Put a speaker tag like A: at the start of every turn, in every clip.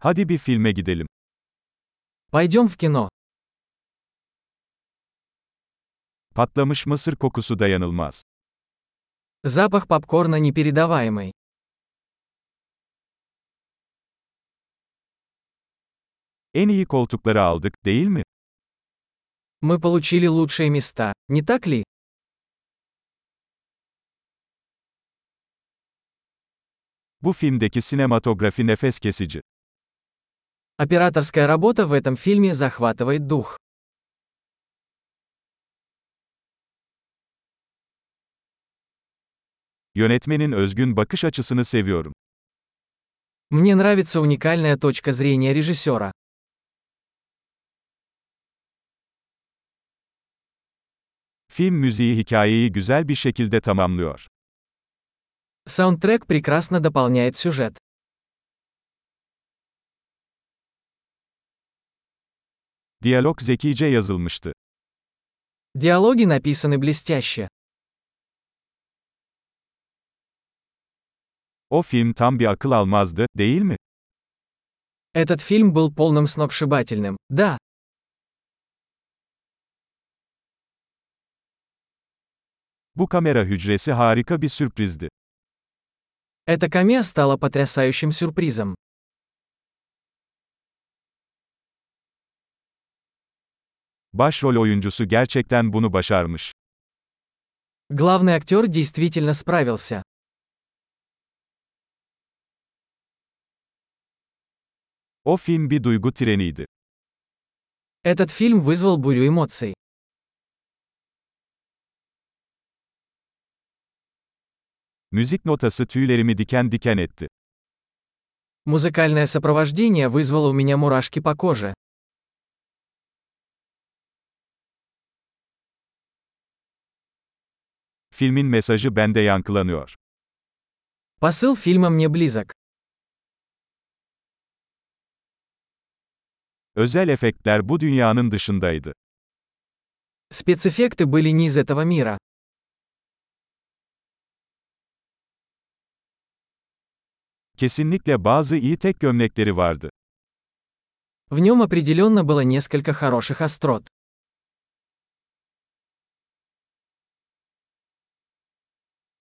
A: Hadi bir filme gidelim.
B: Пойдем в кино.
A: Patlamış mısır kokusu dayanılmaz.
B: Запах попкорна непередаваемый.
A: En iyi koltukları aldık, değil mi?
B: Мы получили лучшие места, не так ли?
A: Bu filmdeki sinematografi nefes kesici.
B: Операторская работа в этом фильме захватывает дух.
A: Yönetmenin özgün bakış açısını seviyorum.
B: Мне нравится уникальная точка зрения режиссера.
A: Film müziği hikayeyi güzel bir şekilde tamamlıyor.
B: Саундтрек прекрасно дополняет сюжет.
A: Diyalog zekice yazılmıştı.
B: Диалоги написаны блестяще.
A: O film tam bir akıl almazdı, değil mi?
B: Этот фильм был полным сногсшибательным. Да,
A: Bu kamera hücresi harika bir sürprizdi.
B: эта камея стала потрясающим сюрпризом.
A: Başrol oyuncusu gerçekten bunu başarmış.
B: Главный актер действительно справился.
A: O film bir duygu treniydi.
B: Этот фильм вызвал бурю эмоций.
A: Müzik notası tüylerimi diken diken etti.
B: Музыкальное сопровождение вызвало у меня мурашки по коже.
A: Filmin mesajı bende yankılanıyor.
B: Посыл фильма мне близок.
A: Özel efektler bu dünyanın dışındaydı.
B: Спецэффекты были не из этого мира.
A: Kesinlikle bazı iyi tek gömlekleri vardı.
B: В нем определенно было несколько хороших острот.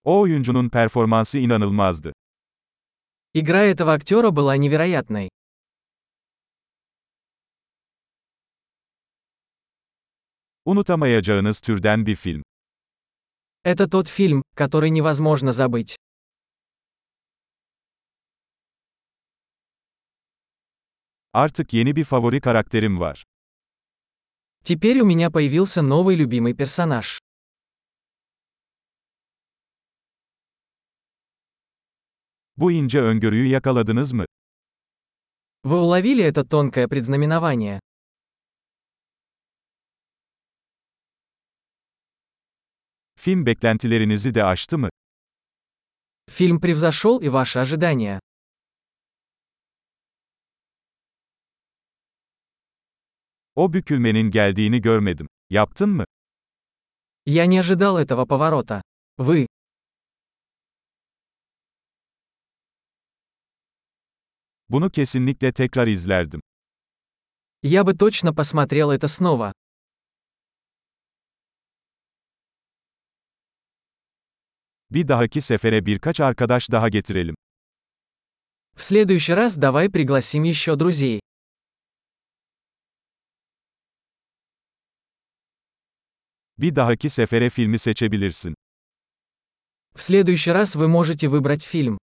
A: O oyuncunun performansı inanılmazdı.
B: Игра этого актера была невероятной.
A: Unutamayacağınız türden bir film.
B: Это тот фильм, который невозможно забыть.
A: Artık yeni bir favori karakterim var.
B: Теперь у меня появился новый любимый персонаж.
A: Bu ince öngörüyü yakaladınız mı?
B: Вы уловили это тонкое предзнаменование.
A: Film beklentilerinizi de aştı mı?
B: Фильм превзошел и ваши ожидания.
A: O bükülmenin geldiğini görmedim. Yaptın mı?
B: Я не ожидал этого поворота. Вы.
A: Bunu kesinlikle tekrar izlerdim.
B: Я бы точно посмотрел это снова.
A: Bir dahaki sefere birkaç arkadaş daha getirelim.
B: В следующий раз давай пригласим еще друзей.
A: Bir dahaki sefere filmi seçebilirsin.
B: В следующий раз вы можете выбрать фильм.